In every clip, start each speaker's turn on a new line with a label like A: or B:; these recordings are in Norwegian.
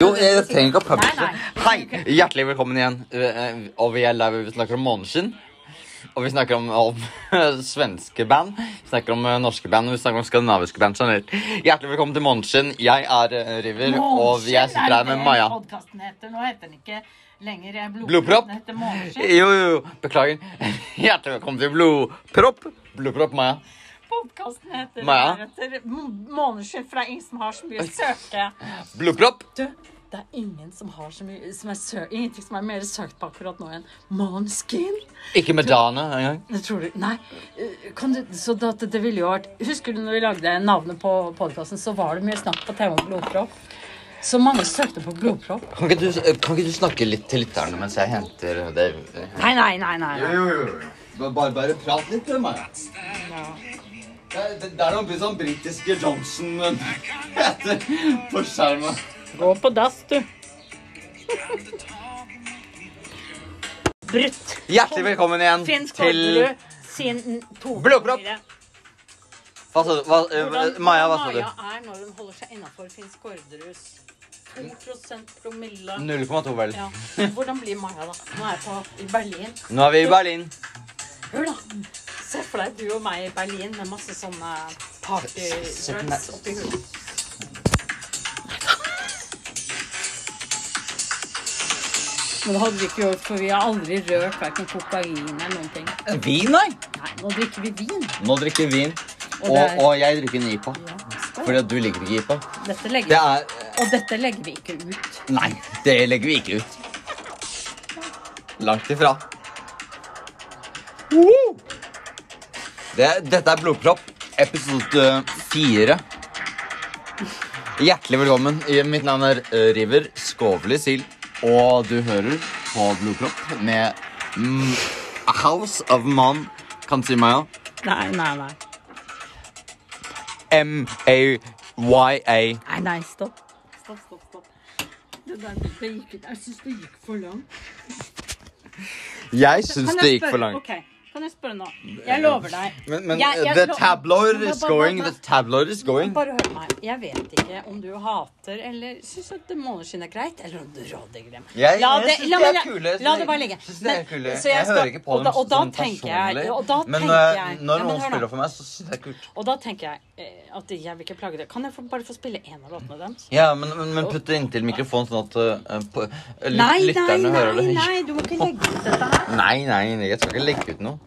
A: Jo, jeg trenger ikke å publishe.
B: Nei,
A: Hei, hjertelig velkommen igjen. Eh, Og vi er live, vi snakker om Måneskinn. Og vi snakker om, om svenske band, vi snakker om eh, norske band og vi snakker om skandinaviske band generelt. Hjertelig velkommen til Måneskinn. Jeg er eh, River, og jeg sitter her med Maja.
B: Podkasten heter Nå heter den ikke lenger eh,
A: Blodpropp?
B: Blodpropp. Den heter Morgenskinn.
A: Jo, jo, beklager. Hjertelig velkommen til Blodpropp. Blodpropp, Maja.
B: Podkasten heter
A: Maja?
B: deretter M- Måneskinn, for det er ingen som har så mye søke.
A: Blodpropp.
B: Du, det er ingen som har så mye som er sø Ingenting som er mer søkt på akkurat nå enn Måneskin.
A: Ikke Medana engang.
B: Det tror du Nei. eh, Kan du, så det, det ville jo vært Husker du når vi lagde navnet på podkasten, så var det mye snakk på TV om blodpropp? Så mange søkte på blodpropp.
A: Kan ikke, du, kan ikke du snakke litt til lytterne mens jeg henter det?
B: Nei, nei, nei, nei. nei.
A: Jo, jo, jo. Bare, bare prat litt med meg. Det, det, det er noe sånn britiske Johnson men, heter på skjermen.
B: Gå på dass, du. Brutt.
A: Hjertelig velkommen igjen
B: Finn
A: til
B: Skårderud sin to
A: Blodpropp. Hva sa du? Hva, eh, Maja, hva sa du?
B: Maja er når hun holder seg innafor Finn Skårderuds 2 promille.
A: 0,2 vel.
B: Ja. Hvordan blir Maja, da? Nå er jeg på, i Berlin.
A: Nå er vi i Berlin.
B: Hør, da. Se for deg du og meg i Berlin med masse sånne
A: Se på meg.
B: partydrugs oppi huet. Men det hadde vi ikke gjort, for vi har aldri rørt verken kokain eller noen ting.
A: Vin, nei?
B: Nei, nå drikker vi vin.
A: Nå drikker vi vin.
B: Og
A: Og,
B: det er-
A: og jeg drikker en IPA.
B: Ja,
A: Fordi at du liker ikke IPA.
B: dette
A: Det
B: legger,
A: er
B: og dette legger vi ikke ut.
A: Nei, det legger vi ikke ut. Langt ifra. Woo! Det, dette er Blodpropp, episode eh, fire. Hjertelig velkommen. I- Mitt navn er eh, River Skovli Sil, og du hører på Blodpropp med mm, A House of Man kan si meg ja.
B: Nei, nei, nei.
A: M-A-Y-A.
B: Nei, nei, stopp. Stopp, stopp, stopp. Det der, det gikk, jeg syns det gikk for langt.
A: Jeg syns det gikk for langt.
B: Kan jeg spørre nå? Jeg lover deg.
A: Men, men
B: Jeg- jeg
A: the
B: lo-
A: tabloid
B: Ba-
A: is
B: ba- ba-
A: going,
B: ba-
A: the tabloid is going.
B: Bare hør meg. Jeg vet ikke om du hater eller syns at måneskinn er greit, eller om du råder dem.
A: Jeg- jeg synes
B: la
A: de er
B: meg-
A: kule. Jeg
B: La
A: synes-
B: det bare ligge.
A: jeg synes de er
B: Men-
A: kule.
B: så
A: Jeg
B: skal-
A: hører ikke på
B: og
A: dem
B: da, og da
A: sånn
B: tenker jeg,
A: personlig.
B: og da
A: Men,
B: tenker
A: eh,
B: jeg
A: når
B: Ja, men
A: noen
B: hør nå.
A: spiller for meg, så synes jeg det er kult.
B: Og da tenker jeg eh, at jeg vil ikke plage deg. Kan jeg få, bare få spille én av låtene deres?
A: Ja, men, men, men putt det inntil mikrofonen, sånn at eh, på, lyt-
B: Nei, nei,
A: lytterne hører
B: nei,
A: det.
B: nei, du må ikke legge ut dette her.
A: Nei, nei, nei, jeg skal ikke legge ut noe.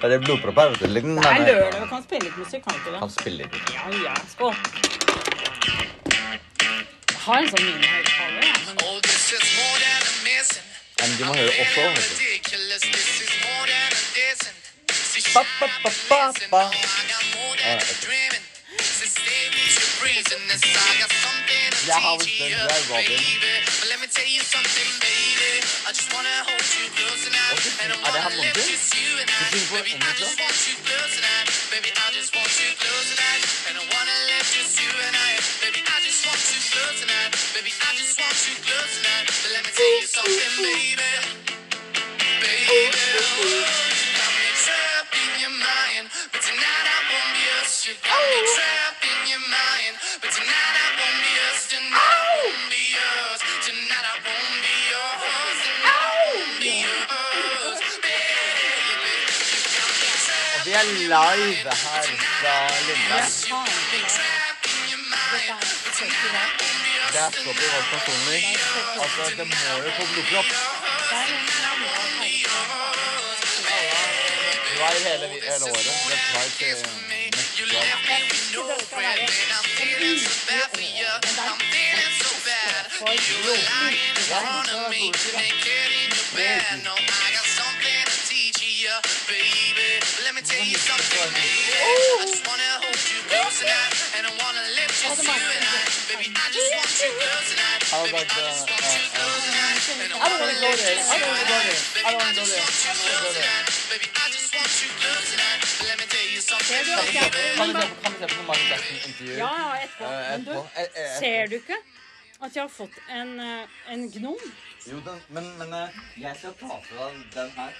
A: Det er det blodpropp her, vet du. Ligg den
B: Det er
A: der nede.
B: lørdag, du kan spille litt musikk, kan du ikke det?
A: Han spiller ikke.
B: Ja, ja, skål. Jeg har en sånn minihøyttaler, jeg, men
C: Oh, this is more than a missing.
A: Men de må høre også. vet du.
C: Ridiculous, this is more than a dissing. She
A: Ba,
C: shot
A: ba,
C: me
A: ba, ba,
C: listen.
A: ba.
C: Oh, I got more than a dreaming. This day is a reason. This I got something to
A: Yeah, how
C: teach
A: is
C: you,
A: that guy, Robin?
C: baby. But let me tell you something, baby. I just wanna hold you close tonight.
A: What's this?
C: And I
A: Are they
C: wanna
A: having
C: live
A: this?
C: just you and I.
A: This is what-
C: Baby,
A: and
C: I
A: this
C: just want you close tonight. Baby, I just want you close tonight. And I wanna live just you and I. Baby, I just want you close tonight. Baby, I just want you close tonight. But let me tell you something, baby. Baby, you got me trapped in your mind, but tonight I won't be us. You got me trapped in your mind, but tonight I won't be us. Tonight I won't be yours. Tonight I won't be yours. Tonight I won't be yours, baby. You got me trapped
A: Vi er live her fra Lindberg.
B: uh,
C: trapped in your mind, but tonight I won't be yours.
A: Det er stopp i vår personlig. Altså, det må jo på blodpropp. Pride hele, vi- hele året. Det er pride til neste år. How about the, uh, uh,
C: I don't want to go there. I don't want to go there. I don't want to go there. Baby, I just want you good tonight. Let me tell you something,
A: Kan vi
C: baby.
A: se på, kan vi se på noe Michael Jackson-intervju?
B: Ja, ja,
A: Eh,
B: etterpå. Men
A: etterpå.
B: du,
A: Eh, eh,
B: ser du ikke at jeg har fått en, eh, en gnom?
A: Jo, den, men, men eh, jeg skal ta fra deg den her.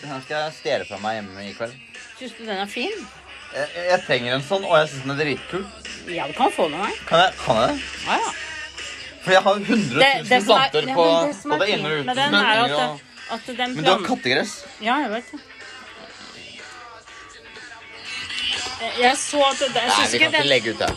A: Den her skal jeg stjele fra meg hjemme i kveld.
B: Syns du den er fin?
A: Jeg, jeg trenger en sånn, og jeg syns den er dritkul.
B: Ja, du kan få den av meg.
A: Kan jeg, kan jeg det?
B: Ja, ja.
A: For jeg har 100
B: Det, det
A: 000
B: som er,
A: planter
B: ja,
A: på
B: men det som er
A: både
B: fint
A: inne og ute.
B: med den, er at,
A: og-
B: at den
A: Men du har
B: planten
A: kattegress.
B: Ja, jeg vet det. Jeg- Jeg så at det, jeg
A: Nei,
B: synes
A: vi
B: ikke
A: kan ikke
B: den
A: legge ut det.